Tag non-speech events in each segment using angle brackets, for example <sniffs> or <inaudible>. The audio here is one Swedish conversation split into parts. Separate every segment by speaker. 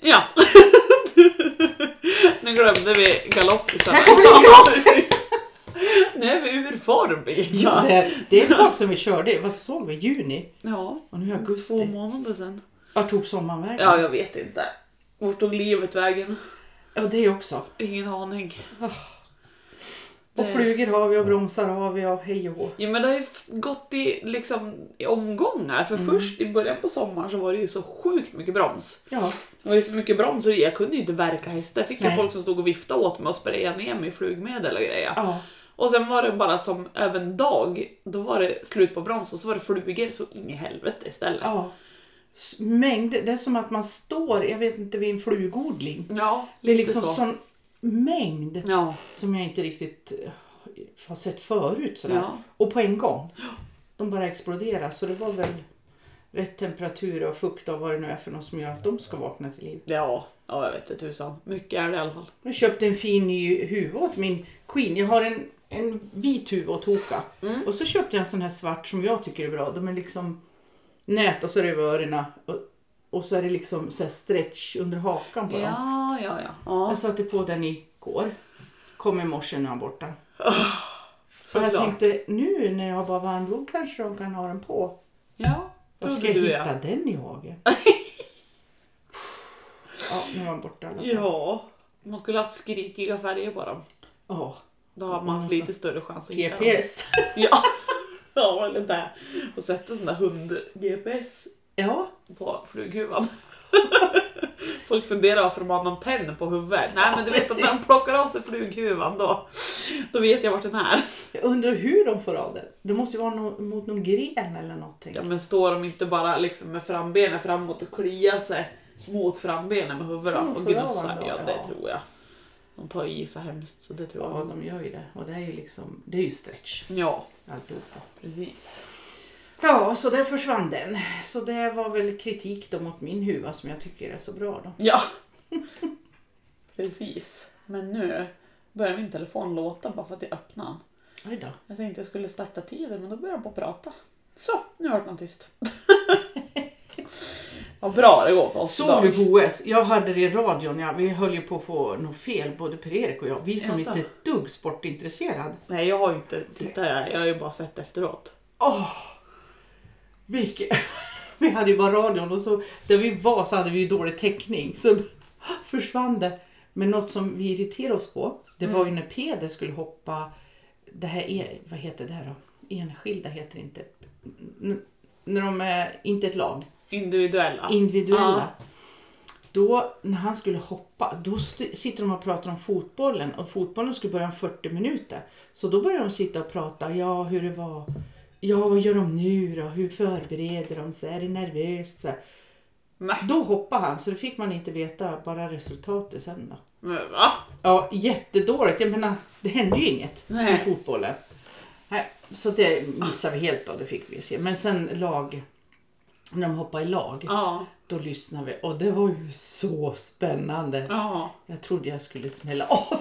Speaker 1: Ja. <laughs> nu glömde vi galoppisarna.
Speaker 2: Här kommer en galopp!
Speaker 1: <laughs> nu är vi ur form igen.
Speaker 2: Ja, det, är- det är ett tag sedan vi körde. Vad såg vi? Juni?
Speaker 1: Ja,
Speaker 2: Och nu är
Speaker 1: två
Speaker 2: augusti.
Speaker 1: månader sedan.
Speaker 2: Vart tog sommaren vägen?
Speaker 1: Ja, jag vet inte. Vart tog livet vägen?
Speaker 2: Ja, det också.
Speaker 1: Ingen aning.
Speaker 2: Och
Speaker 1: Det-
Speaker 2: flugor har vi och bromsar har vi och hej och hå.
Speaker 1: Ja, men det har ju f- gått i, liksom, i omgångar. För
Speaker 2: Mm.
Speaker 1: först i början på sommaren så var det ju så sjukt mycket broms.
Speaker 2: Ja,
Speaker 1: Det var ju så mycket broms så jag kunde ju inte verka hästar. Fick jag
Speaker 2: Nej.
Speaker 1: folk som stod och viftade åt mig och sprayade ner mig i flugmedel och grejer.
Speaker 2: ja.
Speaker 1: Och sen var det bara som över en dag, då var det slut på broms och så var det flugor så in i helvete istället.
Speaker 2: ja. S- Mängd, det är som att man står, jag vet inte, vid en flugodling.
Speaker 1: Ja,
Speaker 2: Det är
Speaker 1: lite
Speaker 2: liksom
Speaker 1: så.
Speaker 2: sån mängd
Speaker 1: Ja.
Speaker 2: som jag inte riktigt eh, har sett förut. Sådär.
Speaker 1: Ja.
Speaker 2: Och på en gång. De bara exploderar. Så det var väl rätt temperatur och fukt och vad det nu är för något som gör att de ska vakna till liv.
Speaker 1: ja, ja jag vet inte tusan. Mycket är det i alla fall.
Speaker 2: Jag köpte en fin ny huva åt min queen. Jag har en, en vit huva åt Hoka.
Speaker 1: Mm.
Speaker 2: Och så köpte jag en sån här svart som jag tycker är bra. De är liksom nät och så är det över öronen. Och, och så är det liksom så här stretch under hakan på dem.
Speaker 1: Ja, ja, ja. ja.
Speaker 2: Jag satte på den igår. Kom i morse när han var borta. Så jag
Speaker 1: Såklart.
Speaker 2: tänkte nu när jag har bara varmblod kanske de kan ha den på.
Speaker 1: Ja,
Speaker 2: Vad ska
Speaker 1: trodde
Speaker 2: jag
Speaker 1: du ja.
Speaker 2: hitta den i
Speaker 1: <laughs>
Speaker 2: hagen? ja, nu var den borta i alla fall.
Speaker 1: Ja, man skulle haft skrikiga färger på dem.
Speaker 2: Ja.
Speaker 1: Då har man haft
Speaker 2: Mm,
Speaker 1: lite större chans att hitta dem.
Speaker 2: GPS.
Speaker 1: Ja, ja eller där. Och sätta sån där hund-GPS
Speaker 2: Ja.
Speaker 1: på flughuvan. <laughs> Folk funderar varför de har en antenn på huvudet. Nej men du vet att när de plockar av sig flughuvan då, då vet jag vart den är.
Speaker 2: Jag undrar hur de får av det. Det måste ju vara nå- mot någon gren eller något. tänker
Speaker 1: Ja
Speaker 2: jag.
Speaker 1: men står de inte bara liksom med frambenen framåt och kliar sig mot frambenen med huvudet
Speaker 2: Tror de
Speaker 1: och
Speaker 2: får av
Speaker 1: gnussar?
Speaker 2: varandra,
Speaker 1: Ja det
Speaker 2: ja.
Speaker 1: tror jag. De tar i så hemskt så det tror
Speaker 2: Ja,
Speaker 1: jag.
Speaker 2: de gör ju det. Och det är ju liksom, det är ju stretch
Speaker 1: Ja,
Speaker 2: alltihopa.
Speaker 1: precis.
Speaker 2: Ja, så där försvann den. Så det var väl kritik då mot min huva som jag tycker är så bra då.
Speaker 1: Ja. <laughs> Precis. Men nu börjar min telefon låta bara för att jag öppnade den.
Speaker 2: Oj då.
Speaker 1: Jag tänkte jag skulle starta tiden men då började den bara prata. Så, nu har den <laughs> tyst. Vad bra det går för oss
Speaker 2: Så du
Speaker 1: idag.
Speaker 2: goes. Jag hörde det i radion. Ja, vi höll ju på att få något fel, både Per-Erik och jag. Vi som
Speaker 1: Jaså?
Speaker 2: inte är ett dugg sportintresserad.
Speaker 1: Nej jag har ju inte tittat, jag jag har ju bara sett efteråt.
Speaker 2: Åh! vilket... <laughs> vi hade ju bara radion och så där vi var så hade vi ju dålig täckning. Så <gasps> försvann det. Men något som vi irriterade oss på, det var ju när Peder skulle hoppa det här, e- vad heter det här då? Enskilda heter det inte. N- när de är, inte ett lag,
Speaker 1: Individuella.
Speaker 2: individuella. Då, när han skulle hoppa, då st- sitter de och pratar om fotbollen och fotbollen skulle börja om 40 minuter. Så då börjar de sitta och prata, ja hur det var, ja vad gör de nu då, hur förbereder de sig, är det nervöst? Så här.
Speaker 1: Nej.
Speaker 2: Då hoppade han, så det fick man inte veta, bara resultatet sen då.
Speaker 1: Men va?
Speaker 2: Ja, jättedåligt, jag menar det hände ju inget
Speaker 1: Nej.
Speaker 2: med fotbollen. Nej, så det missade vi helt då, det fick vi se. Men sen lag, när de hoppade i lag.
Speaker 1: Ja.
Speaker 2: Då lyssnade vi och det var ju så spännande.
Speaker 1: Ja.
Speaker 2: Jag trodde jag skulle smälla av.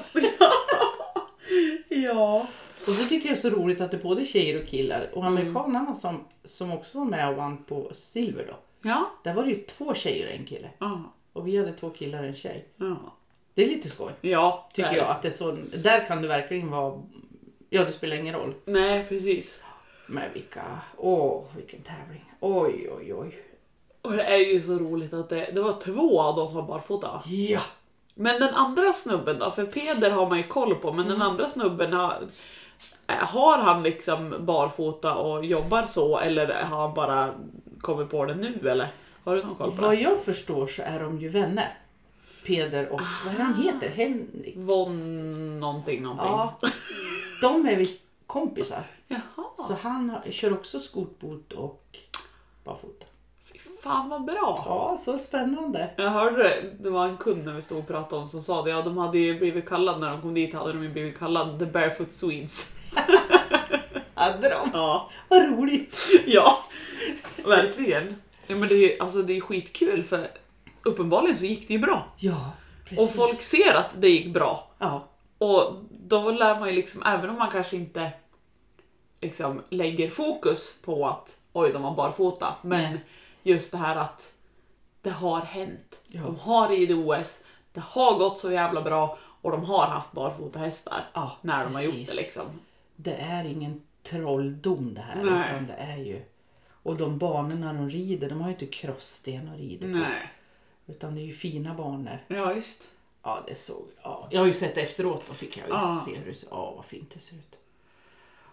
Speaker 1: Ja.
Speaker 2: Och så tycker jag det är så roligt att det är både tjejer och killar och amerikanarna som, som också var med och vann på silver då.
Speaker 1: Ja.
Speaker 2: Där var det ju två tjejer och en kille
Speaker 1: Ja.
Speaker 2: och vi hade två killar och en tjej.
Speaker 1: Ja.
Speaker 2: Det är lite skoj
Speaker 1: Ja.
Speaker 2: tycker
Speaker 1: där.
Speaker 2: jag att det är så. Där kan du verkligen vara. Ja, det spelar ingen roll.
Speaker 1: Nej precis.
Speaker 2: Men vilka, åh vilken tävling. Oj, oj, oj.
Speaker 1: Och det är ju så roligt att det, det var två av dem som var barfota.
Speaker 2: Ja,
Speaker 1: Men den andra snubben då? För Peder har man ju koll på, men
Speaker 2: Mm.
Speaker 1: den andra snubben har, eh, har han liksom barfota och jobbar så eller har han bara kommit på det nu eller? Har du någon koll på
Speaker 2: vad
Speaker 1: det?
Speaker 2: jag förstår så är de ju vänner. Peder och, vad är det han heter? Henrik?
Speaker 1: Von någonting någonting.
Speaker 2: Ja, de är visst kompisar.
Speaker 1: Jaha,
Speaker 2: Så han har, kör också skotbot och barfota.
Speaker 1: fy fan vad bra.
Speaker 2: Ja, så spännande.
Speaker 1: Jag hörde det, det var en kund när vi stod och pratade om som sa det, ja de hade ju blivit kallade när de kom dit hade de ju blivit kallade The Barefoot Swedes.
Speaker 2: Hade de?
Speaker 1: Ja,
Speaker 2: Vad roligt.
Speaker 1: <laughs> ja verkligen. Ja, men det är ju alltså, det är skitkul för uppenbarligen så gick det ju bra.
Speaker 2: Ja, precis.
Speaker 1: Och folk ser att det gick bra.
Speaker 2: Ja,
Speaker 1: Och då lär man ju liksom, även om man kanske inte liksom lägger fokus på att oj, de var barfota. Men just det här att det har hänt.
Speaker 2: Ja.
Speaker 1: De har ridit OS, det har gått så jävla bra och de har haft barfota hästar
Speaker 2: Ja,
Speaker 1: när de har gjort
Speaker 2: precis.
Speaker 1: det liksom.
Speaker 2: Det är ingen trolldom det här.
Speaker 1: Nej.
Speaker 2: Utan det är ju... Och de banorna de rider, de har ju inte krossten att rida på.
Speaker 1: Nej,
Speaker 2: Utan det är ju fina banor.
Speaker 1: ja just.
Speaker 2: Ja, det såg... Ja. Jag har ju sett det efteråt, då fick jag ju
Speaker 1: Ja.
Speaker 2: se hur det ser Ja, vad fint det ser ut.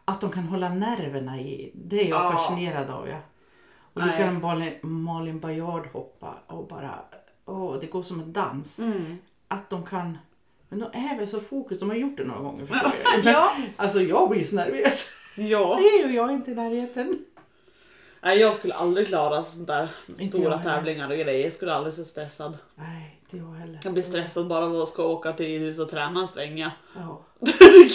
Speaker 2: Att de kan hålla nerverna i, det är jag
Speaker 1: Ja.
Speaker 2: fascinerad av. Ja. Och då
Speaker 1: Nej.
Speaker 2: kan Malin, Malin Baryard hoppa och bara... Åh, det går som en dans. Att de kan... Men de är väl så fokus, de har gjort det några <laughs> gånger förstår jag.
Speaker 1: Ja.
Speaker 2: Alltså jag blir ju så nervös.
Speaker 1: Ja.
Speaker 2: Det är ju jag inte i närheten.
Speaker 1: Nej, jag skulle aldrig klara sånt där stora
Speaker 2: jag heller.
Speaker 1: tävlingar och grejer. Jag skulle aldrig så stressad.
Speaker 2: Nej, inte jag heller.
Speaker 1: Jag blir stressad bara av att ska åka till ridhus och träna en svänga.
Speaker 2: Ja.
Speaker 1: <laughs> Det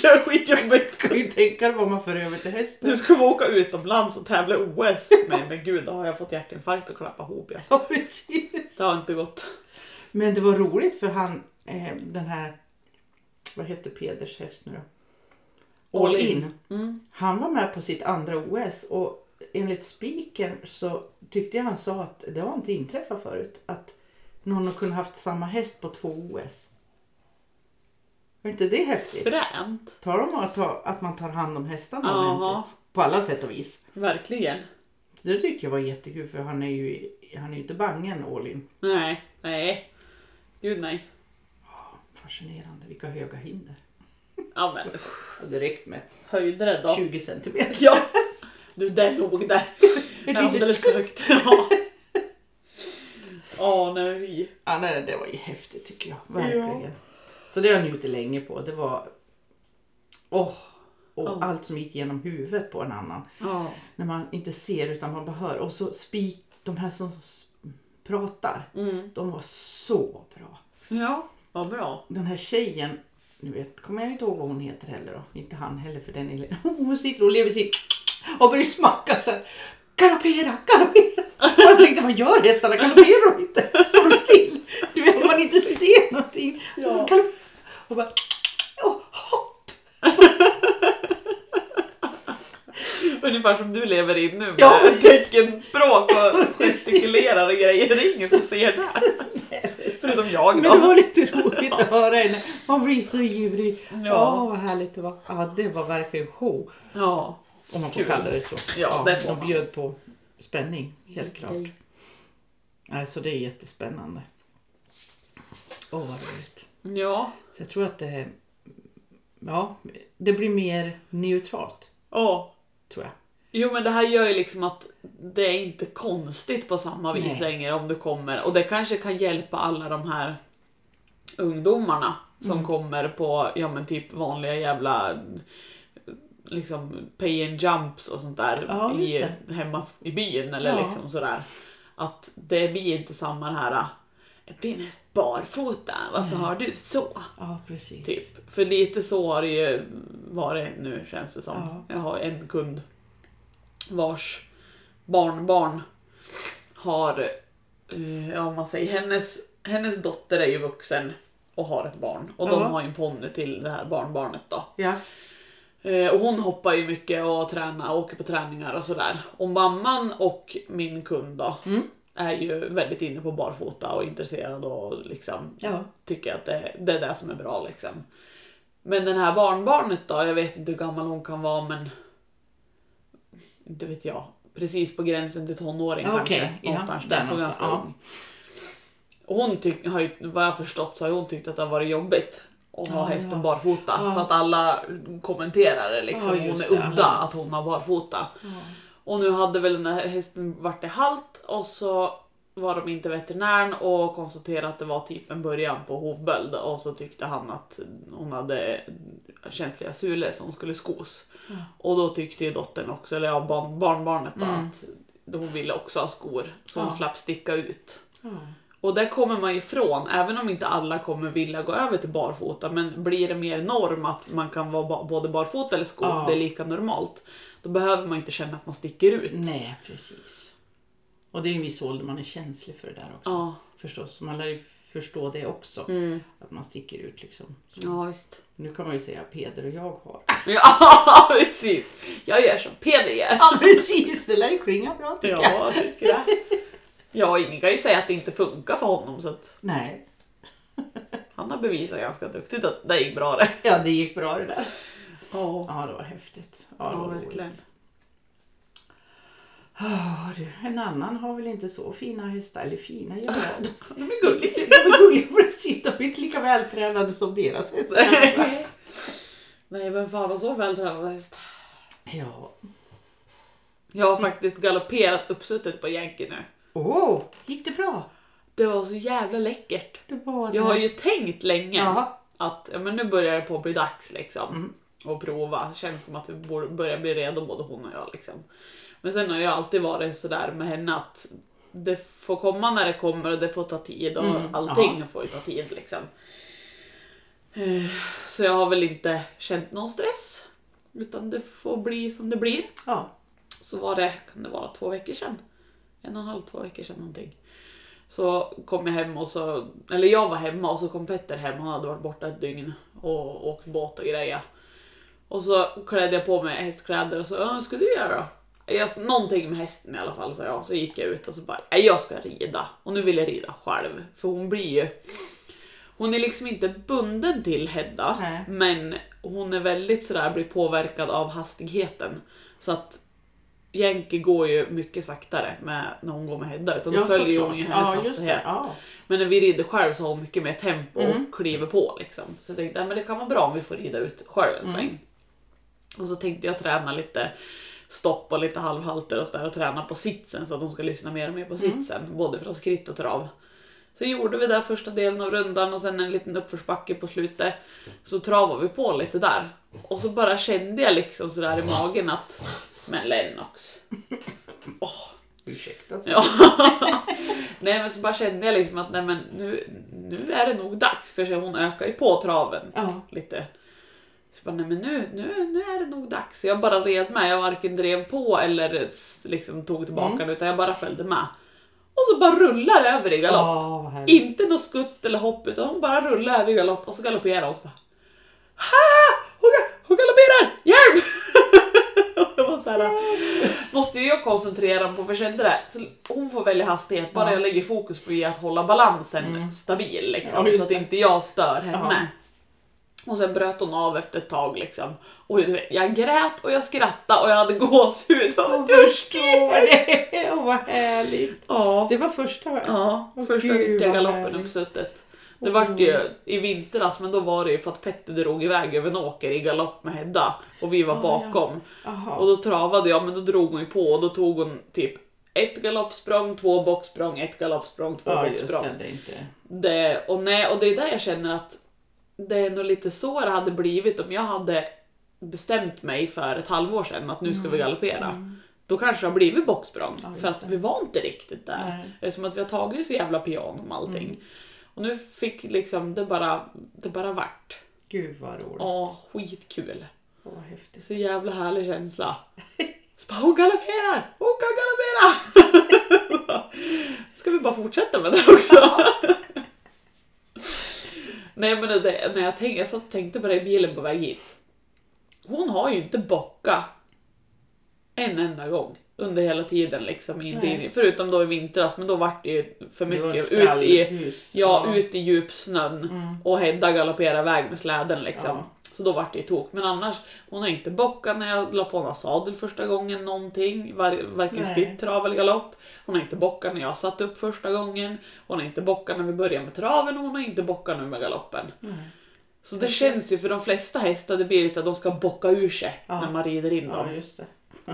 Speaker 1: är skitjobbigt.
Speaker 2: Kan ju tänka dig vad man för över till hästen.
Speaker 1: Nu ska vi åka utomlands och tävla i OS. Nej men gud, då har jag fått hjärtinfarkt och klappa ihop. Ja.
Speaker 2: Ja, precis.
Speaker 1: Det har inte gått.
Speaker 2: Men det var roligt för han, eh, den här, vad heter Peders häst nu då? All,
Speaker 1: All
Speaker 2: in.
Speaker 1: in. Mm.
Speaker 2: Han var med på sitt andra OS och enligt spiken så tyckte jag han sa att det har inte inträffat förut. Att någon har kunnat haft samma häst på två OS. Är inte det häftigt?
Speaker 1: Fränt.
Speaker 2: Tar de att, ta, att man tar hand om hästarna
Speaker 1: Jaha.
Speaker 2: ordentligt? På alla sätt och vis.
Speaker 1: Verkligen.
Speaker 2: Det tycker jag var jättekul för han är ju, han är ju inte bangen All in.
Speaker 1: Nej, nej. Gud nej.
Speaker 2: Fascinerande, vilka höga hinder.
Speaker 1: Ja men
Speaker 2: Ja, Det räckte med
Speaker 1: höjdrädd då.
Speaker 2: 20 centimeter.
Speaker 1: Ja. Du, det låg där.
Speaker 2: Ett
Speaker 1: Ja,
Speaker 2: litet
Speaker 1: Alldeles för högt. Ja. Åh nej.
Speaker 2: Ja, nej, det var ju häftigt tycker jag. Verkligen. Så det har jag njutit länge på. Det var... Åh! och
Speaker 1: Ja.
Speaker 2: allt som gick genom huvudet på en annan.
Speaker 1: Ja.
Speaker 2: När man inte ser utan man bara hör. Och så spik... De här som s- pratar.
Speaker 1: Mm.
Speaker 2: De var så bra.
Speaker 1: Ja, vad bra.
Speaker 2: Den här tjejen. Nu vet, kommer jag inte ihåg vad hon heter heller då. Inte han heller för den är... <laughs> Hon sitter och lever sitt... <sniffs> Och börjar smacka så här. Galoppera, galoppera. Och jag tänkte vad gör hästarna? Galopperar de inte? Står de still? Du vet om man inte ser någonting.
Speaker 1: Ja.
Speaker 2: Galopp- Och bara... "Åh, hopp."
Speaker 1: Ungefär som du lever i nu med
Speaker 2: Ja.
Speaker 1: teckenspråk och
Speaker 2: <laughs>
Speaker 1: gestikulerar och grejer. Det är ingen som ser det. Förutom jag
Speaker 2: Men det
Speaker 1: då.
Speaker 2: var lite roligt att höra henne. Man blir så ivrig.
Speaker 1: Ja.
Speaker 2: Ja, vad härligt det var. Ja, det var verkligen show.
Speaker 1: Ja,
Speaker 2: Om man får
Speaker 1: Kul.
Speaker 2: kalla det så.
Speaker 1: Ja, det får
Speaker 2: de
Speaker 1: man.
Speaker 2: bjöd på spänning, helt klart.
Speaker 1: Okej.
Speaker 2: Alltså det är jättespännande. Åh vad roligt.
Speaker 1: ja.
Speaker 2: Så jag tror att det, ja, det blir mer neutralt
Speaker 1: ja.
Speaker 2: tror jag.
Speaker 1: Jo men det här gör ju liksom att det är inte konstigt på samma vis
Speaker 2: Nej.
Speaker 1: längre om du kommer och det kanske kan hjälpa alla de här ungdomarna som
Speaker 2: Mm.
Speaker 1: kommer på ja men typ vanliga jävla liksom pay and jumps och sånt där
Speaker 2: Ja, just
Speaker 1: i, hemma i byn eller
Speaker 2: Ja.
Speaker 1: liksom sådär. Att det blir inte samma det här "Äh, din häst barfota, varför har du så?
Speaker 2: Ja precis.
Speaker 1: Typ. För lite så har det ju varit nu känns det som.
Speaker 2: Ja.
Speaker 1: Jag har en kund vars barnbarn har, eh, ja om man säger hennes, hennes dotter är ju vuxen och har ett barn och de
Speaker 2: Ja.
Speaker 1: har ju en ponny till det här barnbarnet då.
Speaker 2: Ja.
Speaker 1: Eh, Och hon hoppar ju mycket och tränar och åker på träningar och sådär. Och mamman och min kund då
Speaker 2: Mm.
Speaker 1: är ju väldigt inne på barfota och intresserad och liksom
Speaker 2: Ja.
Speaker 1: tycker att det, det är det som är bra liksom. Men den här barnbarnet då, jag vet inte hur gammal hon kan vara men inte vet jag. Precis på gränsen till tonåring
Speaker 2: Ja,
Speaker 1: kanske.
Speaker 2: okej. Ja,
Speaker 1: någonstans
Speaker 2: där
Speaker 1: där, så
Speaker 2: någonstans,
Speaker 1: ganska
Speaker 2: ja.
Speaker 1: ung. Och hon tyck, har ju, vad jag har förstått så har hon tyckt att det har varit jobbigt att ha
Speaker 2: Ja,
Speaker 1: hästen
Speaker 2: ja.
Speaker 1: barfota.
Speaker 2: Ja.
Speaker 1: För att alla kommenterar det liksom.
Speaker 2: Ja,
Speaker 1: hon
Speaker 2: just
Speaker 1: är
Speaker 2: det,
Speaker 1: udda
Speaker 2: alla.
Speaker 1: att hon har barfota. Och nu hade väl den här hästen varit i halt och så var de inte veterinären och konstaterade att det var typ en början på hovböld och så tyckte han att hon hade känsliga sulor så hon skulle skos. Och då tyckte ju dottern också, eller ja, barn, barnbarnet då, att hon ville också ha skor så hon
Speaker 2: Mm. Ja.
Speaker 1: slapp sticka ut.
Speaker 2: Ja.
Speaker 1: Och där kommer man ifrån, även om inte alla kommer vilja gå över till barfota, men blir det mer norm att man kan vara ba- både barfota eller skor,
Speaker 2: Ja.
Speaker 1: det är lika normalt, då behöver man inte känna att man sticker ut.
Speaker 2: Nej precis. Och det är en viss ålder man är känslig för det där också.
Speaker 1: Ja.
Speaker 2: Förstås. Man lär ju förstå det också.
Speaker 1: Mm.
Speaker 2: Att man sticker ut liksom. Så
Speaker 1: Ja, visst.
Speaker 2: Nu kan man ju säga Peder och jag har.
Speaker 1: <laughs> Ja, precis. Jag gör som Peder gör.
Speaker 2: Ja precis, det lär ju klinga bra tycker jag.
Speaker 1: Ja, jag tycker det. Ja, ingen kan ju säga att det inte funkar för honom så att
Speaker 2: Nej,
Speaker 1: han har bevisat ganska duktigt att det gick bra det.
Speaker 2: ja det gick bra det där.
Speaker 1: Ja,
Speaker 2: Ja, det var häftigt. Ja, det
Speaker 1: ja
Speaker 2: var
Speaker 1: verkligen.
Speaker 2: roligt. Ja, du, en annan har väl inte så fina hästar, eller fina ja. <laughs>
Speaker 1: De är
Speaker 2: De
Speaker 1: gulliga.
Speaker 2: är gulliga precis, de är inte lika vältränade som deras
Speaker 1: <laughs>
Speaker 2: hästar.
Speaker 1: <laughs> Nej, vem fan har så vältränad häst?
Speaker 2: Ja.
Speaker 1: Jag har faktiskt galopperat uppsuttet på Yankee nu.
Speaker 2: Åh, oh, gick det bra?
Speaker 1: Det var så jävla läckert.
Speaker 2: Det var det.
Speaker 1: Jag har ju tänkt länge
Speaker 2: Ja.
Speaker 1: att ja, men nu börjar det på att bli dags liksom.
Speaker 2: Mm.
Speaker 1: Och prova. Känns som att vi bor- börjar bli redo både hon och jag liksom. Men sen har jag alltid varit sådär med henne att det får komma när det kommer och det får ta tid och
Speaker 2: Mm,
Speaker 1: allting får ju ta tid liksom. Eh, Så jag har väl inte känt någon stress. Utan det får bli som det blir.
Speaker 2: ja.
Speaker 1: Så var det, kan det vara två veckor sedan? En och en halv, två veckor sedan någonting. Så kom jag hem och så, eller jag var hemma och så kom Petter hem, han hade varit borta ett dygn och åkt båt och grejer. Och så klädde jag på mig hästkläder och så, "Ja, vad ska du göra då? Jag, någonting med hästen i alla fall sa jag. Så gick jag ut och så bara, "Nej, jag ska rida. Och nu vill jag rida själv. För hon blir ju, hon är liksom inte bunden till Hedda.
Speaker 2: Nej.
Speaker 1: Men hon är väldigt sådär, blir påverkad av hastigheten. Så att Jänke går ju mycket saktare med, när hon går med Hedda. Utan då följer ju
Speaker 2: såklart.
Speaker 1: hon ju hennes
Speaker 2: ja, just
Speaker 1: hastighet.
Speaker 2: det. Ja.
Speaker 1: Men när vi rider själv så har hon mycket mer tempo
Speaker 2: Mm.
Speaker 1: och kliver på. Liksom. Så jag tänkte att det kan vara bra om vi får rida ut själv en sväng. Och så tänkte jag träna lite stopp och lite halvhalter och sådär och träna på sitsen så att hon ska lyssna mer och mer på sitsen. Både från skritt och trav. Så gjorde vi där första delen av rundan och sen en liten uppförsbacke på slutet. Så travade vi på lite där. Och så bara kände jag liksom sådär i magen att Men Lennox. Åh,
Speaker 2: Ursäkta. Så.
Speaker 1: Ja. nej men så bara kände jag liksom att nej, men nu, nu är det nog dags för sig hon ökar ju på traven
Speaker 2: Ja.
Speaker 1: lite. Så bara, nej men nu, nu, nu är det nog dags. Så jag bara red med, jag varken drev på eller s- liksom tog tillbaka
Speaker 2: Mm.
Speaker 1: den utan jag bara följde med. Och så bara rullar det över i galopp.
Speaker 2: Ja, vad härligt.
Speaker 1: Inte något skutt eller hopp utan hon bara rullar över i galopp och så galopperar hon. Så bara, ha! Hon, ga- hon galopperar! Hjälp! <laughs> Och jag bara så här, måste ju jag koncentrera mig på för jag kände det. Så hon får välja hastighet bara
Speaker 2: Ja.
Speaker 1: jag lägger fokus på i att hålla balansen
Speaker 2: Mm.
Speaker 1: stabil
Speaker 2: Ja,
Speaker 1: liksom,
Speaker 2: just
Speaker 1: så att
Speaker 2: det.
Speaker 1: inte jag stör
Speaker 2: Ja.
Speaker 1: henne. Och sen bröt hon av efter ett tag liksom. Och du vet, jag grät och jag skrattade och jag hade gåshud av <laughs>
Speaker 2: Jag
Speaker 1: törskig.
Speaker 2: förstår det. Åh, vad härligt.
Speaker 1: Ja.
Speaker 2: Det var första.
Speaker 1: Ja,
Speaker 2: Åh,
Speaker 1: första
Speaker 2: gud,
Speaker 1: riktiga
Speaker 2: vad
Speaker 1: galoppen
Speaker 2: härligt.
Speaker 1: upp suttet. Det vart ju i vintras, men då var det ju för att Petter drog iväg över en åker i galopp med Hedda och vi var
Speaker 2: Ah,
Speaker 1: bakom. Och
Speaker 2: Jaha.
Speaker 1: då travade jag, men då drog hon ju på och då tog hon typ ett galoppsprång, två boxsprång, ett galoppsprång, två
Speaker 2: Ja, just
Speaker 1: boxsprång.
Speaker 2: det. det är inte.
Speaker 1: Det, och, nej, och det är där jag känner att det är nog lite så det hade blivit om jag hade bestämt mig för ett halvår sedan att nu ska vi galoppera. Då kanske det har blivit boxsprång.
Speaker 2: Mm. Ja, just
Speaker 1: för att
Speaker 2: det.
Speaker 1: vi var inte riktigt där.
Speaker 2: Nej. Mm.
Speaker 1: Eftersom att vi har tagit så jävla piano om allting. Och nu fick liksom det bara, det bara vart.
Speaker 2: Gud vad roligt. Åh,
Speaker 1: Ja, skitkul.
Speaker 2: vad häftigt.
Speaker 1: Så jävla härlig känsla. Så bara, hon galopperar! Hon kan galoppera! <laughs> Ska vi bara fortsätta med det också? <laughs> Nej men det, när jag, tänkte, jag satt och tänkte på det i bilen på väg hit. Hon har ju inte bockat en enda gång under hela tiden liksom. In,
Speaker 2: Nej.
Speaker 1: in, förutom då i vintras, men då vart det ju för
Speaker 2: Det var
Speaker 1: mycket. Ut i,
Speaker 2: skallhus.
Speaker 1: Ja, ut i djupsnön
Speaker 2: Mm.
Speaker 1: och Hedda galopperar iväg med släden liksom.
Speaker 2: Ja.
Speaker 1: Så då vart det ju tok. Men annars, hon har inte bockat när jag la på henne sadel första gången någonting. Var, varken
Speaker 2: Nej.
Speaker 1: skritt, trav eller galopp. Hon har inte bockat när jag satt upp första gången. Hon har inte bockat när vi började med traven och hon har inte bockat nu med galoppen.
Speaker 2: Nej.
Speaker 1: Så det känns ju för de flesta hästar, det blir lite så att de ska bocka ur sig
Speaker 2: Ja.
Speaker 1: när man rider in dem.
Speaker 2: Ja, just det.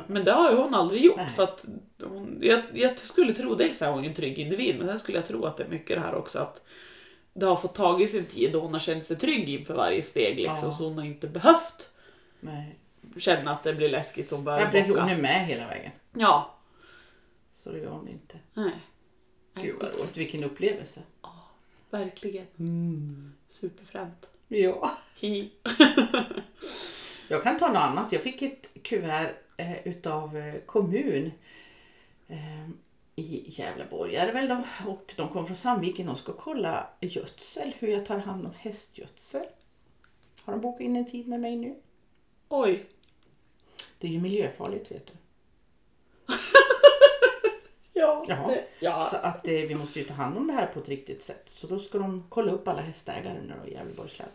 Speaker 1: Men det har ju hon aldrig gjort.
Speaker 2: Nej.
Speaker 1: För att hon, jag, jag skulle tro, dels är hon ju en trygg individ, men sen skulle jag tro att det är mycket det här också att det har fått tag i sin tid och hon har känt sig trygg inför varje steg liksom,
Speaker 2: Ja.
Speaker 1: så hon har inte behövt
Speaker 2: Nej.
Speaker 1: känna att det blir läskigt som
Speaker 2: Ja,
Speaker 1: börjar
Speaker 2: precis. Hon
Speaker 1: bocka.
Speaker 2: är med hela vägen.
Speaker 1: Ja.
Speaker 2: Så det gör hon inte.
Speaker 1: Nej. Nej,
Speaker 2: Gud vad roligt. Vilken upplevelse.
Speaker 1: Verkligen. Mm. Superfränt.
Speaker 2: Ja.
Speaker 1: Hi.
Speaker 2: Jag kan ta något annat. Jag fick ett kuvert eh, utav eh, kommun eh, i Gävleborg är det väl de, och de kom från Sandviken och ska kolla gödsel, hur jag tar hand om hästgödsel. Har de bokat in en tid med mig nu?
Speaker 1: Oj.
Speaker 2: Det är ju miljöfarligt vet du.
Speaker 1: Ja,
Speaker 2: Jaha.
Speaker 1: det, ja.
Speaker 2: Så att eh, vi måste ju ta hand om det här på ett riktigt sätt. Så då ska de kolla upp alla hästägare nu då i Gävleborgs län.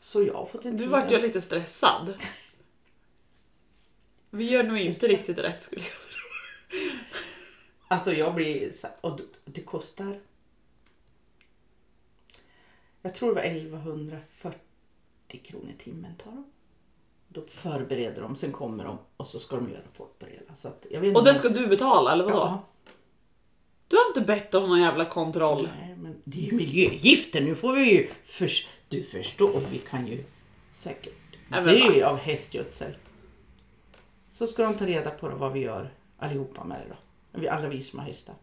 Speaker 2: Så jag har fått en
Speaker 1: Nu
Speaker 2: tid
Speaker 1: vart
Speaker 2: där.
Speaker 1: jag lite stressad. Vi gör nog inte riktigt rätt skulle jag tro.
Speaker 2: Alltså jag blir så- och det kostar. Jag tror det var 1140 kronor i timmen tar de. Då förbereder de, sen kommer de och så ska de göra rapport på det hela. Så att jag vet inte
Speaker 1: Och det
Speaker 2: om-
Speaker 1: ska du betala eller vadå?
Speaker 2: Ja.
Speaker 1: Du har inte bett om någon jävla kontroll.
Speaker 2: Nej, men det är ju miljögifter. Nu får vi ju... Förs- du förstår, vi kan ju säkert
Speaker 1: Nej, men
Speaker 2: dö av hästgödsel. Så ska de ta reda på då vad vi gör allihopa med det då. Vi, alla vi som har hästar.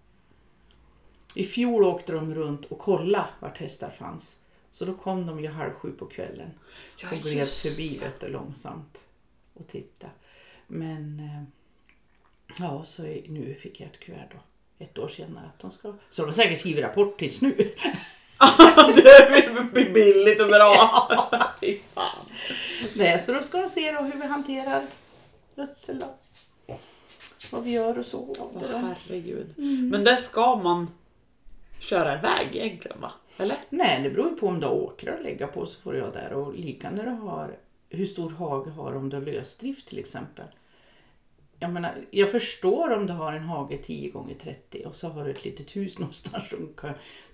Speaker 2: I fjol åkte de runt och kollade vart hästar fanns. Så då kom de ju halv sju på kvällen
Speaker 1: Ja,
Speaker 2: och gled
Speaker 1: just
Speaker 2: förbi
Speaker 1: det. <laughs>
Speaker 2: vet du, långsamt och titta. Men eh, ja, så i- nu fick jag ett kuvert då. Ett år senare att de ska. Så de har säkert skrivit rapport tills nu. <laughs>
Speaker 1: det blir billigt och bra. <laughs> Fy fan.
Speaker 2: Nej, så då ska de se då hur vi hanterar gödsel då. Vad vi gör och så. Och det
Speaker 1: Åh,
Speaker 2: då.
Speaker 1: herregud. Men det ska man köra iväg egentligen va? Eller?
Speaker 2: Nej, det beror ju på om du har åkrar att lägga på så får jag där. Och lika när du har, hur stor hage har du om du har lösdrift till exempel. Jag menar, jag förstår om du har en hage 10 gånger 30 och så har du ett litet hus <laughs> någonstans. Som kan,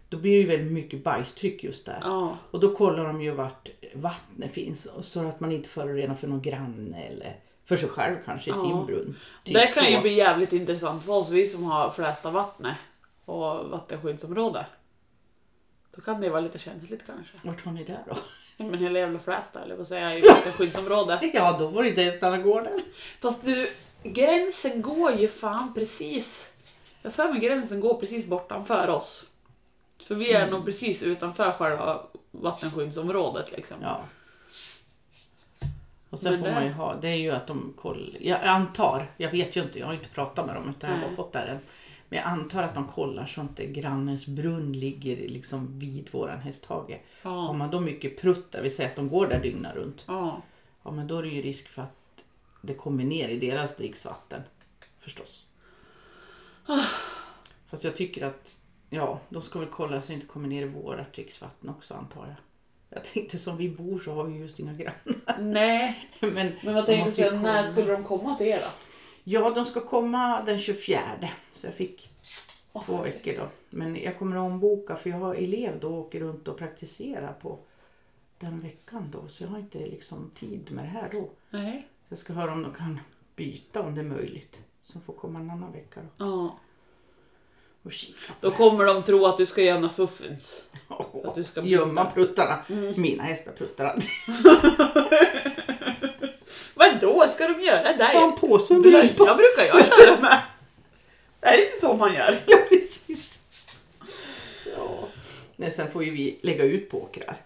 Speaker 2: då blir det ju väldigt mycket bajstryck just där.
Speaker 1: Ja.
Speaker 2: Och då kollar de ju vart vattnet finns och så att man inte förorenar för någon granne eller för sig själv kanske i
Speaker 1: Ja.
Speaker 2: sin brunn. Typ
Speaker 1: det kan
Speaker 2: så.
Speaker 1: ju bli jävligt intressant för oss, vi som har flästa vattnet och vattenskyddsområde. Då kan det vara lite känsligt kanske.
Speaker 2: Vart har ni där då? <laughs>
Speaker 1: Nej, Men hela jävla Flästa eller vad säger <laughs> jag, i vattenskyddsområde.
Speaker 2: Ja, då får inte hästarna gå där.
Speaker 1: Fast du, gränsen går ju fan precis. Jag har för mig gränsen går precis bortanför oss. Så vi
Speaker 2: Mm.
Speaker 1: är nog precis utanför själva vattenskyddsområdet liksom.
Speaker 2: Ja. Och sen
Speaker 1: Men
Speaker 2: får
Speaker 1: det-
Speaker 2: man ju ha, det är ju att de kollar, jag antar, jag vet ju inte, jag har inte pratat med dem utan jag har bara
Speaker 1: Nej.
Speaker 2: fått där än. Men jag antar att de kollar så inte grannens brunn ligger liksom vid våran hästhage. Har
Speaker 1: Ja.
Speaker 2: man då mycket prutt, där vi säger att de går där dygnet runt,
Speaker 1: ja.
Speaker 2: ja men då är det ju risk för att det kommer ner i deras dricksvatten. Förstås. Ah. Fast jag tycker att, ja, de ska väl kolla så det inte kommer ner i vårat dricksvatten också antar jag. Jag tänkte som vi bor så har vi just inga grannar.
Speaker 1: Nej,
Speaker 2: Men
Speaker 1: men vad
Speaker 2: De
Speaker 1: tänker du
Speaker 2: måste ju
Speaker 1: säga, när
Speaker 2: komma.
Speaker 1: skulle de komma till er då?
Speaker 2: ja, de ska komma den 24. Så jag fick två veckor då. Men jag kommer att omboka för jag har elev då och åker runt och praktiserar på den veckan då. Så jag har inte liksom tid med det här då.
Speaker 1: Nej.
Speaker 2: Så jag ska höra om de kan byta om det är möjligt. Så får komma en annan vecka då
Speaker 1: Ja.
Speaker 2: och kika på
Speaker 1: Då kommer de tro att du ska göra några fuffens.
Speaker 2: det.
Speaker 1: Att du ska
Speaker 2: <laughs> Gömma pruttarna. Mina hästar pruttar alltid. <laughs>
Speaker 1: Vadå, ska de göra
Speaker 2: Jag har
Speaker 1: dig?
Speaker 2: en påse under rumpan.
Speaker 1: Blöja brukar jag köra med. Det är inte så man gör.
Speaker 2: <laughs> Ja, precis. Ja. Nej, sen får ju vi lägga ut på åkrar.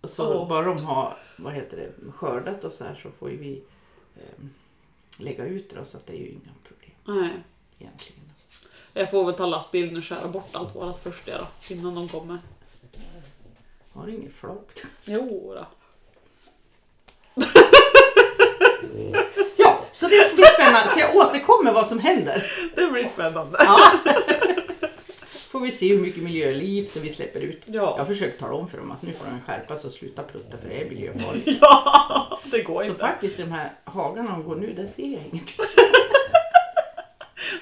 Speaker 2: Och Så
Speaker 1: Åh.
Speaker 2: bara de har vad heter det, skördat och så här så får ju vi ehm, lägga ut det då, så att det är ju inga problem
Speaker 1: Nej.
Speaker 2: egentligen.
Speaker 1: Jag får väl ta lastbilen och köra bort allt vårat första då, innan de kommer.
Speaker 2: Har du inget <laughs> flakt?
Speaker 1: Jo då.
Speaker 2: Ja, så det ska bli spännande. Så jag återkommer vad som händer.
Speaker 1: Det blir spännande.
Speaker 2: Ja. Får vi se hur mycket miljögifter vi släpper ut. Jag har
Speaker 1: Ja.
Speaker 2: försökt tala om för dem att nu får de skärpa sig och sluta prutta för det är miljöfarligt.
Speaker 1: Ja, <laughs> det går
Speaker 2: Så
Speaker 1: inte.
Speaker 2: faktiskt de här hagarna de går nu, där ser jag ingenting.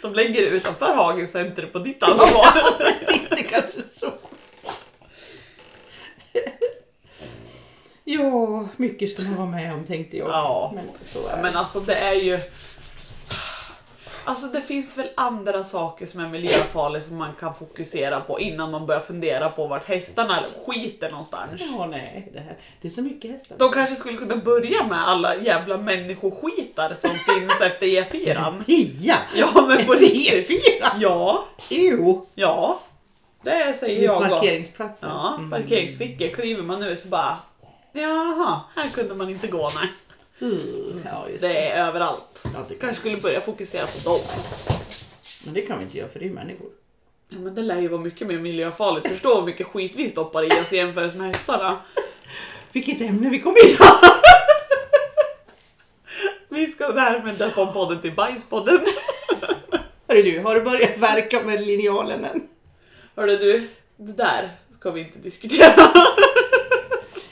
Speaker 1: De lägger det utanför hagen så är inte det på ditt <laughs> ansvar.
Speaker 2: Det kanske är så. Ja, mycket ska man vara med om tänkte jag.
Speaker 1: Ja.
Speaker 2: Men så är
Speaker 1: Men
Speaker 2: det.
Speaker 1: alltså det är ju... Alltså det finns väl andra saker som är miljöfarliga som man kan fokusera på innan man börjar fundera på vart hästarna skiter någonstans.
Speaker 2: Ja, nej, det, här. det är så mycket hästar.
Speaker 1: De kanske skulle kunna börja med alla jävla människoskitar <laughs> som finns efter E4.
Speaker 2: Pia! <laughs>
Speaker 1: Ja men på
Speaker 2: Efter
Speaker 1: riktigt.
Speaker 2: E4!
Speaker 1: Ja,
Speaker 2: Jo!
Speaker 1: ja. Det säger
Speaker 2: Vid
Speaker 1: jag gott.
Speaker 2: parkeringsplatsen.
Speaker 1: Ja,
Speaker 2: Mm.
Speaker 1: parkeringsfickor. Kliver man nu så bara... Jaha, här kunde man inte gå nej.
Speaker 2: Mm. Ja, just det.
Speaker 1: Det är överallt.
Speaker 2: Ja, det
Speaker 1: Kanske
Speaker 2: kanske.
Speaker 1: skulle börja fokusera på dem.
Speaker 2: Men det kan vi inte göra för det är människor.
Speaker 1: Ja, men det lär ju vara mycket mer miljöfarligt. Förstå hur mycket skit vi stoppar i oss i jämförelse med hästarna.
Speaker 2: Vilket ämne vi kom in på!
Speaker 1: Vi ska därmed döpa om podden till Bajspodden.
Speaker 2: Hörru du, har du börjat verka med linjalen än?
Speaker 1: Hörde du, det där ska vi inte diskutera.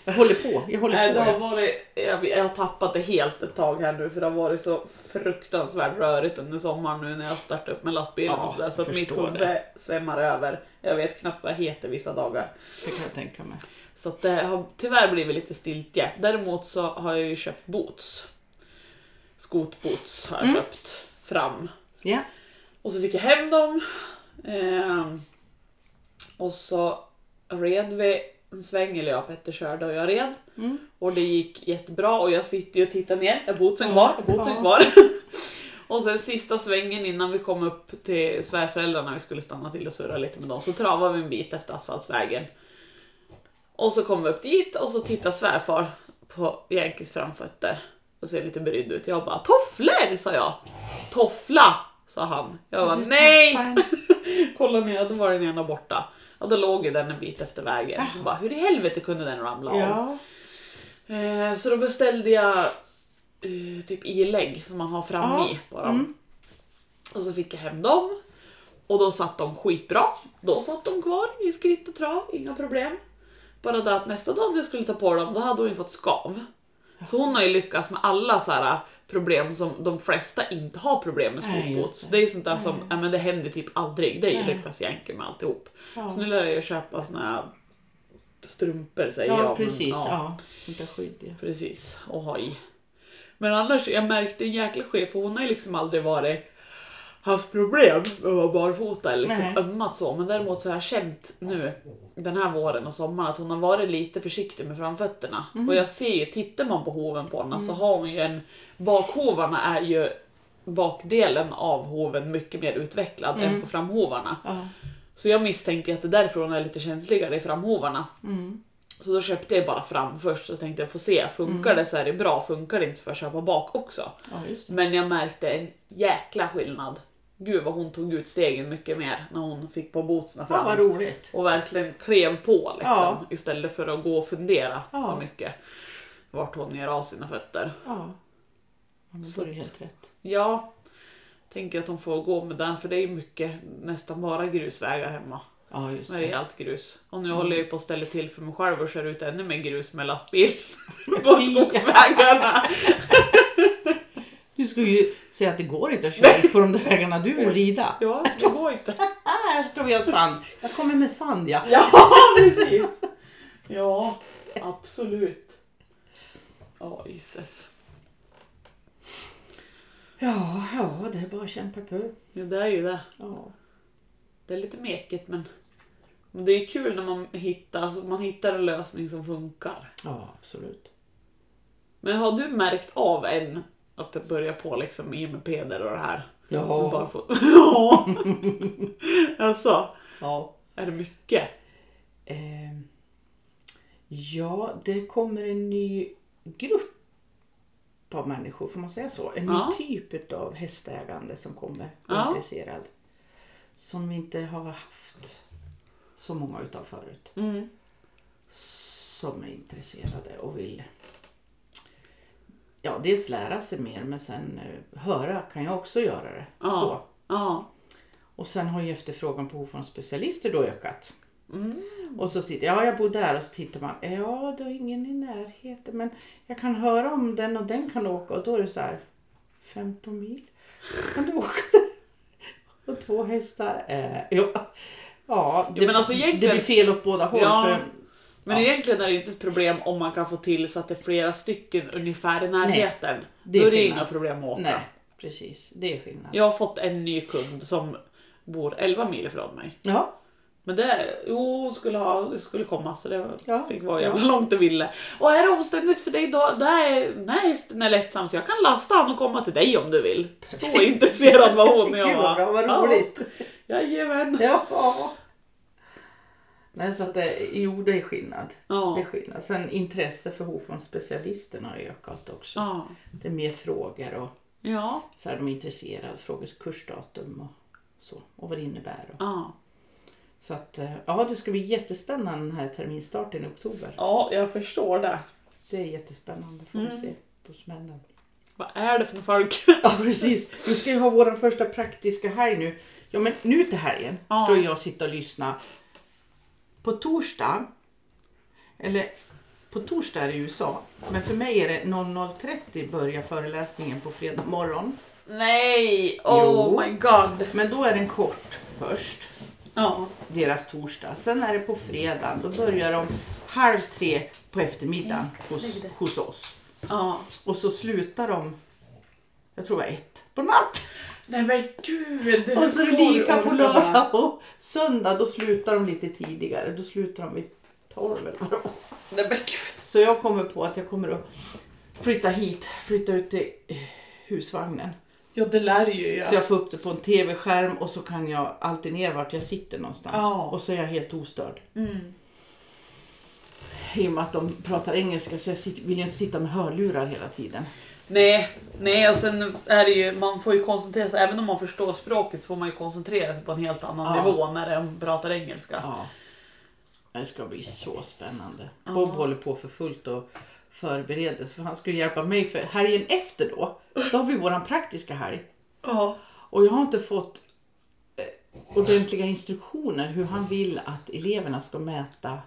Speaker 2: Jag håller på, jag håller
Speaker 1: Nej, det
Speaker 2: på.
Speaker 1: har
Speaker 2: ja.
Speaker 1: varit, jag, jag har tappat det helt ett tag här nu för det har varit så fruktansvärt rörigt under sommaren nu när jag startat upp med lastbilen
Speaker 2: Ja,
Speaker 1: och sådär så att mitt
Speaker 2: förstår
Speaker 1: huvud
Speaker 2: det.
Speaker 1: svämmar över. Jag vet knappt vad jag heter vissa dagar.
Speaker 2: Det kan jag tänka mig.
Speaker 1: Så att det har tyvärr blivit lite stiltje. Däremot så har jag ju köpt boots. Skotboots har jag
Speaker 2: Mm.
Speaker 1: köpt fram.
Speaker 2: Ja.
Speaker 1: Och så fick jag hem dem. Ehm, och så red vi en sväng, eller jag och Petter körde och jag red.
Speaker 2: Mm.
Speaker 1: Och det gick jättebra och jag sitter ju och tittar ner. Är bootsen
Speaker 2: Ja,
Speaker 1: kvar? Är bootsen
Speaker 2: ja.
Speaker 1: kvar? <laughs> och sen sista svängen innan vi kom upp till svärföräldrarna, vi skulle stanna till och surra lite med dem, så travade vi en bit efter asfaltsvägen. Och så kom vi upp dit och så tittar svärfar på Yankees framfötter och ser lite brydd ut. Jag bara tofflor sa jag. Toffla sa han. Jag bara
Speaker 2: Du
Speaker 1: nej!
Speaker 2: tappar en-
Speaker 1: <laughs> Kolla ner, då var den ena borta. Och då låg ju den en bit efter vägen. Så bara hur i helvete kunde den ramla av?
Speaker 2: Ja.
Speaker 1: Eh, Så då beställde jag eh, typ ilägg som man har framme
Speaker 2: Ja, mm.
Speaker 1: i på dem. Och så fick jag hem dem. Och då satt de skitbra. Då satt de kvar i skritt och trav, inga problem. Bara det att nästa dag när jag skulle ta på dem, då hade hon ju fått skav. Så hon har ju lyckats med alla så här problem som de flesta inte har problem med
Speaker 2: Nej, just
Speaker 1: skotboots.
Speaker 2: det.
Speaker 1: Det är ju sånt där som, ja men det händer typ aldrig. Det
Speaker 2: Nej.
Speaker 1: lyckas Yankee med alltihop.
Speaker 2: Ja.
Speaker 1: Så nu lär jag ju köpa såna här strumpor säger jag.
Speaker 2: ja,
Speaker 1: men
Speaker 2: precis.
Speaker 1: ja.
Speaker 2: Ja. Sånt där skydd ja.
Speaker 1: Precis, och ha i. Men annars, jag märkte en jäkla chef för hon har ju liksom aldrig varit haft problem med att vara barfota eller liksom
Speaker 2: Nej.
Speaker 1: ömmat så. Men däremot så har jag känt nu den här våren och sommaren att hon har varit lite försiktig med framfötterna. Och jag ser ju, tittar man på hoven på henne så har hon ju en, bakhovarna är ju bakdelen av hoven mycket mer utvecklad än på framhovarna.
Speaker 2: ja.
Speaker 1: Så jag misstänker att det är därför hon är lite känsligare i framhovarna.
Speaker 2: Mm.
Speaker 1: Så då köpte jag bara fram först så tänkte jag få se,
Speaker 2: Mm.
Speaker 1: funkar det så är det bra, funkar det inte så får jag köpa bak också.
Speaker 2: ja just det.
Speaker 1: Men jag märkte en jäkla skillnad. Gud vad hon tog ut stegen mycket mer när hon fick på bootsen
Speaker 2: Ja,
Speaker 1: fram.
Speaker 2: vad roligt.
Speaker 1: Och verkligen klev på liksom,
Speaker 2: Ja.
Speaker 1: istället för att gå och fundera
Speaker 2: Ja.
Speaker 1: så mycket. Vart hon gör av sina fötter.
Speaker 2: Ja. ja men då är det helt rätt.
Speaker 1: Ja, tänker att hon får gå med den för det är ju mycket, nästan bara grusvägar hemma.
Speaker 2: Ja just
Speaker 1: Med
Speaker 2: det.
Speaker 1: rejält grus. Och nu håller jag ju på att ställa till för mig själv och kör ut ännu mer grus med lastbil <laughs> på skogsvägarna.
Speaker 2: Du skulle ju säga att det går inte att köra ut på de där vägarna du vill <laughs> rida.
Speaker 1: Ja, det går <laughs> inte.
Speaker 2: Här ska Ah, vi ha sand. Jag kommer med sand ja.
Speaker 1: Ja, precis. Ja, absolut. Ja, Jesus.
Speaker 2: Ja, ja det är bara att kämpa på.
Speaker 1: Ja, det är ju det.
Speaker 2: Ja.
Speaker 1: Det är lite mekigt men, men det är kul när man hittar, alltså, man hittar en lösning som funkar.
Speaker 2: ja, absolut.
Speaker 1: Men har du märkt av än att det börjar på liksom i och med peder och det här?
Speaker 2: Jaha.
Speaker 1: Bara för... <laughs> ja. alltså,
Speaker 2: Ja.
Speaker 1: är det mycket?
Speaker 2: Ehm, ja, det kommer en ny grupp av människor, får man säga så? En
Speaker 1: Ja.
Speaker 2: ny typ av hästägande som kommer,
Speaker 1: Ja.
Speaker 2: intresserad. Som vi inte har haft så många utav förut.
Speaker 1: Mm.
Speaker 2: Som är intresserade och vill ja, dels lära sig mer men sen eh, höra kan jag också göra det.
Speaker 1: Ja.
Speaker 2: Så.
Speaker 1: Ja.
Speaker 2: Och sen har ju efterfrågan på från specialister då ökat.
Speaker 1: Mm.
Speaker 2: Och så sitter jag, ja jag bor där och så tittar man, ja det är ingen i närheten men jag kan höra om den och den kan åka och då är det så här 15 mil. Kan du åka där? Och två hästar. Eh, ja, ja det,
Speaker 1: men alltså
Speaker 2: det
Speaker 1: egentligen-
Speaker 2: blir fel åt båda håll.
Speaker 1: Ja,
Speaker 2: för,
Speaker 1: Men
Speaker 2: Ja.
Speaker 1: egentligen är det ju inte ett problem om man kan få till så att det är flera stycken ungefär i närheten.
Speaker 2: det är
Speaker 1: Då är det
Speaker 2: skillnad.
Speaker 1: inga problem att åka.
Speaker 2: nej, precis. Det är skillnad.
Speaker 1: Jag har fått en ny kund som bor 11 mil ifrån mig.
Speaker 2: Ja,
Speaker 1: Men det, jo, hon skulle, ha, det skulle komma så det
Speaker 2: Ja.
Speaker 1: fick vara jävla långt det ville. Och är det omständigt för dig då? Det är, nej, hästen är lättsam så jag kan lasta han och komma till dig om du vill. Så intresserad var hon och
Speaker 2: <laughs> Gud,
Speaker 1: jag
Speaker 2: vad bra, vad roligt.
Speaker 1: Ja, jajamän.
Speaker 2: Ja. Nej, så att det, jo, det är skillnad.
Speaker 1: Ja.
Speaker 2: Det är skillnad. Sen intresse för hov från specialisterna har ökat också.
Speaker 1: Ja.
Speaker 2: Det är mer frågor och
Speaker 1: Ja.
Speaker 2: så här, de är intresserade. Frågor kursdatum och så. Och vad det innebär. Och.
Speaker 1: ja.
Speaker 2: Så att, eh, ja, det ska bli jättespännande den här terminstarten i oktober.
Speaker 1: Ja, jag förstår det.
Speaker 2: Det är jättespännande. Får vi se vad som händer.
Speaker 1: Vad är det för folk?
Speaker 2: Ja, precis. Vi ska ju ha vår första praktiska helg nu. Ja, men nu till helgen
Speaker 1: Ja.
Speaker 2: ska jag sitta och lyssna. På torsdag, eller på torsdag är det i USA, men för mig är det 00.30 börjar föreläsningen på fredag morgon.
Speaker 1: Nej! Oh
Speaker 2: Jo.
Speaker 1: my god!
Speaker 2: Men då är den kort först,
Speaker 1: Ja.
Speaker 2: deras torsdag. Sen är det på fredag, då börjar de halv tre på eftermiddagen
Speaker 1: Mm,
Speaker 2: hos, hos oss.
Speaker 1: ja.
Speaker 2: Och så slutar de, jag tror det var ett, på natt.
Speaker 1: Nej men gud! hur
Speaker 2: Och så
Speaker 1: ska du
Speaker 2: lika på
Speaker 1: orka?
Speaker 2: lördag och söndag, då slutar de lite tidigare. Då slutar de vid 12 eller vad det var.
Speaker 1: Nej men gud.
Speaker 2: Så jag kommer på att jag kommer att flytta hit, flytta ut till eh, husvagnen.
Speaker 1: Ja det lär ju jag.
Speaker 2: Så jag får upp det på en tv-skärm och så kan jag alternera vart jag sitter någonstans.
Speaker 1: Ja.
Speaker 2: Och så är jag helt ostörd.
Speaker 1: Mm.
Speaker 2: I och med att de pratar engelska så jag sit- vill ju inte sitta med hörlurar hela tiden.
Speaker 1: Nej, nej och sen är det ju, man får ju koncentrera sig, även om man förstår språket så får man ju koncentrera sig på en helt annan
Speaker 2: Ja.
Speaker 1: nivå när de pratar engelska.
Speaker 2: Ja. Det ska bli så spännande.
Speaker 1: Ja.
Speaker 2: Bob håller på för fullt och förbereder sig, för han skulle hjälpa mig för helgen efter då. Då har vi våran praktiska helg.
Speaker 1: Ja.
Speaker 2: Och jag har inte fått eh, ordentliga instruktioner hur han vill att eleverna ska mäta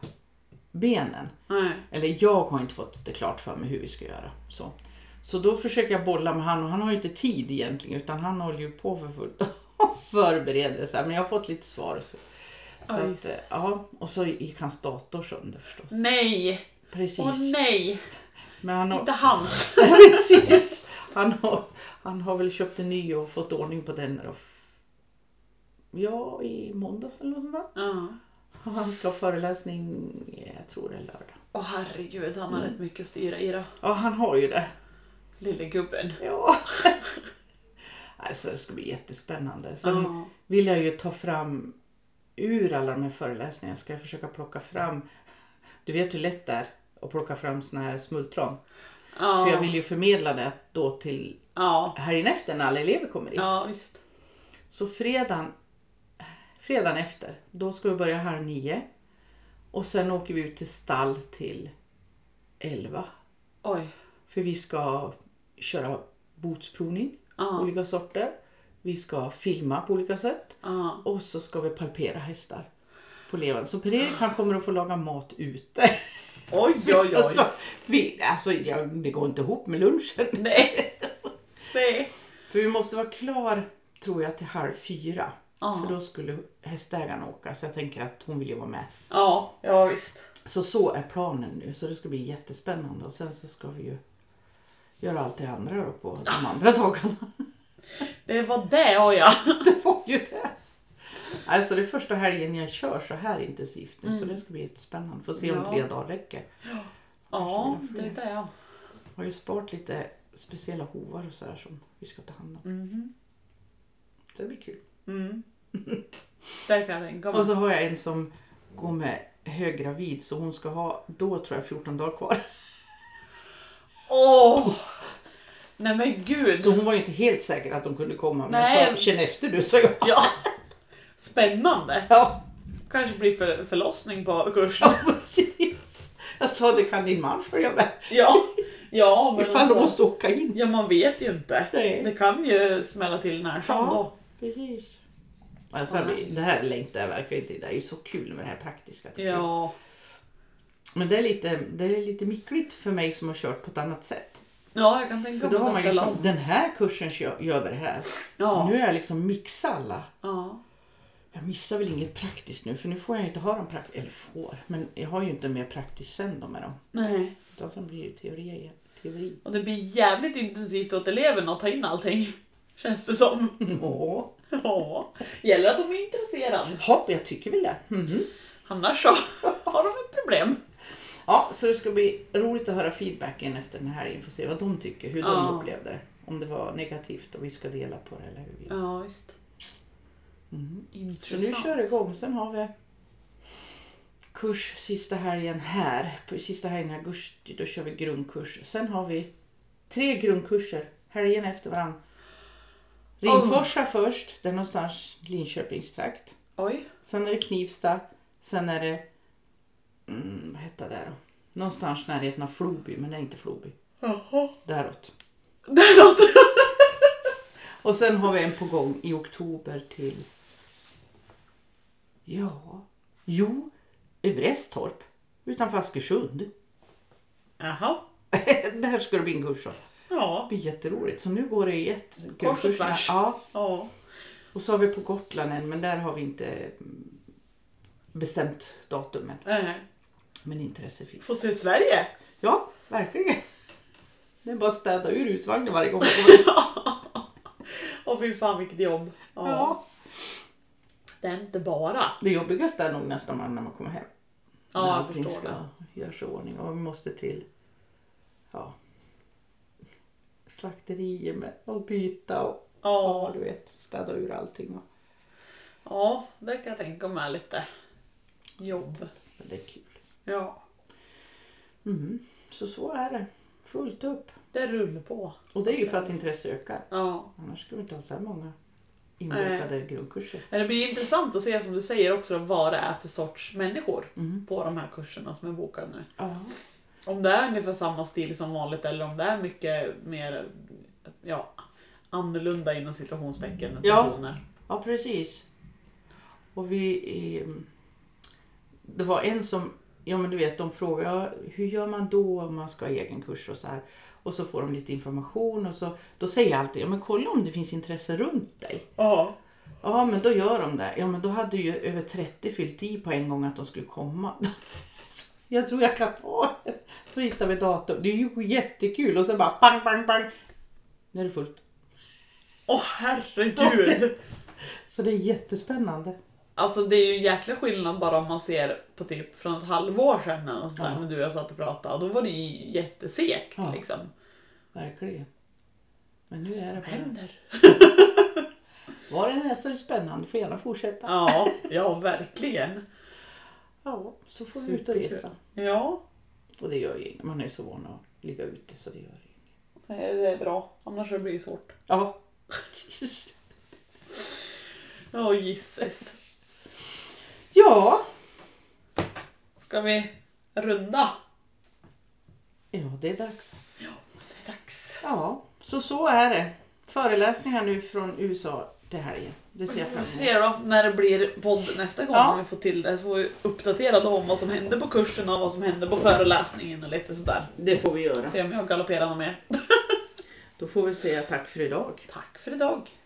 Speaker 2: benen.
Speaker 1: Nej.
Speaker 2: Eller jag har inte fått det klart för mig hur vi ska göra. Så, så då försöker jag bolla med han och han har ju inte tid egentligen utan han håller ju på för fullt <laughs> och förbereder sig. Men jag har fått lite svar. och Så. Så
Speaker 1: Aj,
Speaker 2: att, eh,
Speaker 1: Jesus.
Speaker 2: ja, och så gick hans dator sönder förstås.
Speaker 1: Nej!
Speaker 2: Precis.
Speaker 1: Åh nej!
Speaker 2: Men han har,
Speaker 1: Inte hans.
Speaker 2: <laughs>
Speaker 1: <laughs>
Speaker 2: precis. Han, har, han har väl köpt en ny och fått ordning på den. Då. Ja, i måndags eller något sånt där.
Speaker 1: Ja.
Speaker 2: Och Han ska ha föreläsning, jag tror det är lördag.
Speaker 1: Åh herregud, han har rätt mycket att styra i då.
Speaker 2: Ja, han har ju det.
Speaker 1: Lille gubben.
Speaker 2: Ja. <laughs> Alltså, det ska bli jättespännande. Sen
Speaker 1: Ja.
Speaker 2: vill jag ju ta fram ur alla de här föreläsningarna. Ska jag försöka plocka fram. Du vet hur lätt det är att plocka fram såna här smultron.
Speaker 1: Ja.
Speaker 2: För jag vill ju förmedla det då till
Speaker 1: ja.
Speaker 2: helgen efter när alla elever kommer in.
Speaker 1: ja, visst.
Speaker 2: Så fredagen, fredagen efter, då ska vi börja halv nio. Och sen åker vi ut till stall till elva.
Speaker 1: Oj.
Speaker 2: För vi ska köra botsprovning,
Speaker 1: Ja.
Speaker 2: olika sorter. Vi ska filma på olika sätt.
Speaker 1: Ja.
Speaker 2: Och så ska vi palpera hästar på levande. Så Per-Erik han kommer att få laga mat ute.
Speaker 1: Oj, oj, oj.
Speaker 2: Alltså, vi, alltså, ja, det går inte ihop med lunchen.
Speaker 1: Nej. Nej.
Speaker 2: För vi måste vara klar, tror jag, till halv fyra.
Speaker 1: Ja.
Speaker 2: För då skulle hästägaren åka. Så jag tänker att hon vill ju vara med.
Speaker 1: Ja, ja visst.
Speaker 2: Så så är planen nu. Så det ska bli jättespännande. Och sen så ska vi ju göra allt det andra då på de andra <laughs> dagarna.
Speaker 1: Det var det har jag.
Speaker 2: <laughs> Det var ju det. Alltså det är första helgen jag kör så här intensivt nu så det ska bli jättespännande. Får se om
Speaker 1: Mm. Ja.
Speaker 2: tre dagar räcker.
Speaker 1: Ja, det är det ja.
Speaker 2: Jag har ju sparat lite speciella hovar och sådär som vi ska ta hand om.
Speaker 1: Mhm.
Speaker 2: Så det blir kul.
Speaker 1: Mm. <laughs> Det kan jag tänka
Speaker 2: Och
Speaker 1: mig.
Speaker 2: så har jag en som går med höggravid så hon ska ha, då tror jag 14 dagar kvar.
Speaker 1: Åh! Nej men gud.
Speaker 2: Så hon var ju inte helt säker att de kunde komma men
Speaker 1: Mm. Nej.
Speaker 2: jag sa känn efter du sa jag.
Speaker 1: Ja. Spännande.
Speaker 2: Ja,
Speaker 1: Kanske blir för, förlossning på kursen.
Speaker 2: <laughs> precis. Jag sa det kan din man följa med
Speaker 1: <laughs> Ja.
Speaker 2: <laughs>
Speaker 1: Ja, men
Speaker 2: ifall de
Speaker 1: alltså,
Speaker 2: måste åka in.
Speaker 1: Ja, man vet ju inte.
Speaker 2: Nej.
Speaker 1: Det kan ju smälla till när som
Speaker 2: Ja.
Speaker 1: då.
Speaker 2: Precis. Alltså, det- Det här längtar jag verkligen till. Det är ju så kul med det här praktiska. tycker jag.
Speaker 1: Ja.
Speaker 2: Men det är, lite, det är lite mickligt för mig som har kört på ett annat sätt.
Speaker 1: Ja, jag kan tänka
Speaker 2: För
Speaker 1: mig
Speaker 2: då
Speaker 1: att
Speaker 2: har
Speaker 1: man
Speaker 2: man
Speaker 1: ställa
Speaker 2: liksom,
Speaker 1: om.
Speaker 2: den här kursen kör- gör vi det här.
Speaker 1: Ja.
Speaker 2: Nu är jag liksom mixa alla.
Speaker 1: ja.
Speaker 2: Jag missar väl inget praktiskt nu för nu får jag inte ha dem praktiskt. Eller får, men jag har ju inte mer praktiskt sen då med dem.
Speaker 1: Nej.
Speaker 2: Utan sen blir det ju teori igen.
Speaker 1: <laughs>
Speaker 2: Teori.
Speaker 1: Och det blir jävligt intensivt åt eleverna att ta in allting. <laughs> Känns det som.
Speaker 2: Nå.
Speaker 1: Ja. <laughs> Gäller att de är intresserade.
Speaker 2: Hopp, jag tycker väl det. Mhm.
Speaker 1: Annars så <laughs> har de ett problem.
Speaker 2: Ja, så det ska bli roligt att höra feedbacken efter den här helgen. Får se vad de tycker, hur
Speaker 1: Ja.
Speaker 2: de upplevde det. Om det var negativt och vi ska dela på det eller hur vi...
Speaker 1: Ja, visst.
Speaker 2: Mhm. Så
Speaker 1: Intressant.
Speaker 2: nu kör det igång. Sen har vi kurs sista helgen här. På sista helgen i augusti då kör vi grundkurs. Sen har vi tre grundkurser helgen efter varandra. Rimforsa först, det är någonstans Linköpingstrakt.
Speaker 1: Oj.
Speaker 2: Sen är det Knivsta. Sen är det... Mm, vad hette det där då? Någonstans i närheten av Floby, men det är inte Floby.
Speaker 1: Jaha.
Speaker 2: Däråt.
Speaker 1: <laughs> Där åt-
Speaker 2: Och sen har vi en på gång i oktober till... Ja... Jo, Vrestorp utanför Askersund. <laughs>
Speaker 1: Jaha.
Speaker 2: Där ska det bli en kurs av.
Speaker 1: Ja.
Speaker 2: Det blir jätteroligt. Så nu går det i ett
Speaker 1: Kors och tvärs.
Speaker 2: Ja,
Speaker 1: ja.
Speaker 2: och så har vi på Gotland en, men där har vi inte mm, bestämt datumen.
Speaker 1: Eh,
Speaker 2: Men intresse finns.
Speaker 1: Får se Sverige.
Speaker 2: Ja, verkligen. Det är bara att städa ur husvagnen varje gång.
Speaker 1: Åh fy fan vilket jobb. <laughs> Ja.
Speaker 2: Ja.
Speaker 1: Det är inte bara.
Speaker 2: Det jobbigaste är nog nästan när man kommer hem.
Speaker 1: Ja,
Speaker 2: när
Speaker 1: jag
Speaker 2: allting
Speaker 1: förstår
Speaker 2: ska
Speaker 1: det.
Speaker 2: göras i ordning och vi måste till ja, slakterier med, och byta och ja.
Speaker 1: Ja.
Speaker 2: du vet, städa ur allting. Och,
Speaker 1: ja, det kan jag tänka mig är lite jobb.
Speaker 2: men det är kul.
Speaker 1: Ja,
Speaker 2: Mm. Så så är det. Fullt upp.
Speaker 1: det rullar på.
Speaker 2: Och det är ju för att intresset ökar.
Speaker 1: Ja.
Speaker 2: Annars skulle vi inte ha så här många inbokade grundkurser.
Speaker 1: Men Det blir intressant att se som du säger också vad det är för sorts människor
Speaker 2: Mm.
Speaker 1: på de här kurserna som är bokade nu.
Speaker 2: Ja.
Speaker 1: Om det är ungefär samma stil som vanligt eller om det är mycket mer ja, annorlunda inom situationstecken
Speaker 2: Ja.
Speaker 1: personer.
Speaker 2: ja, precis. Och vi... ehm, Det var en som... Ja, men du vet, de frågade "Ja, hur gör man då om man ska ha egen kurs och så här. Och så får de lite information och så... Då säger jag alltid, ja men kolla om det finns intresse runt dig.
Speaker 1: Ja.
Speaker 2: Ja, men då gör de det. Ja, men då hade ju över 30 fyllt i på en gång att de skulle komma. <laughs> Så Jag tror jag kan ta en. Så hittar vi datum. Det är ju jättekul och sen bara pang, pang, pang. Nu är det fullt.
Speaker 1: Åh herregud!
Speaker 2: Så det är jättespännande.
Speaker 1: Alltså det är ju en jäkla skillnad bara om man ser på typ från ett halvår sedan eller något sånt där
Speaker 2: Ja.
Speaker 1: när du och jag satt och pratade. Då var det ju jättesekt
Speaker 2: Ja.
Speaker 1: liksom.
Speaker 2: Verkligen. Men nu är det
Speaker 1: Vad
Speaker 2: bara...
Speaker 1: händer?
Speaker 2: Var den är så spännande. Får gärna fortsätta.
Speaker 1: Ja, ja verkligen.
Speaker 2: Ja, så får vi ut och
Speaker 1: Superkul.
Speaker 2: resa.
Speaker 1: Ja,
Speaker 2: Och det gör ju inget. Man är ju så van att ligga ute så det gör inget.
Speaker 1: nej, det är bra. Annars blir det blivit svårt.
Speaker 2: Ja.
Speaker 1: Ja, oh, jisses.
Speaker 2: <laughs> Ja.
Speaker 1: Ska vi runda?
Speaker 2: Ja, det är dags.
Speaker 1: Det är dags.
Speaker 2: Ja, så så är det. Föreläsningar nu från USA till helgen. Det ser jag
Speaker 1: Vi får
Speaker 2: fram emot.
Speaker 1: se då när det blir podd nästa gång
Speaker 2: Ja.
Speaker 1: om vi får till det. Så får vi uppdatera då om vad som hände på kursen och vad som hände på föreläsningen och lite sådär.
Speaker 2: Det får vi göra.
Speaker 1: Se om jag galopperar något mer.
Speaker 2: Då får vi säga tack för idag.
Speaker 1: Tack för idag.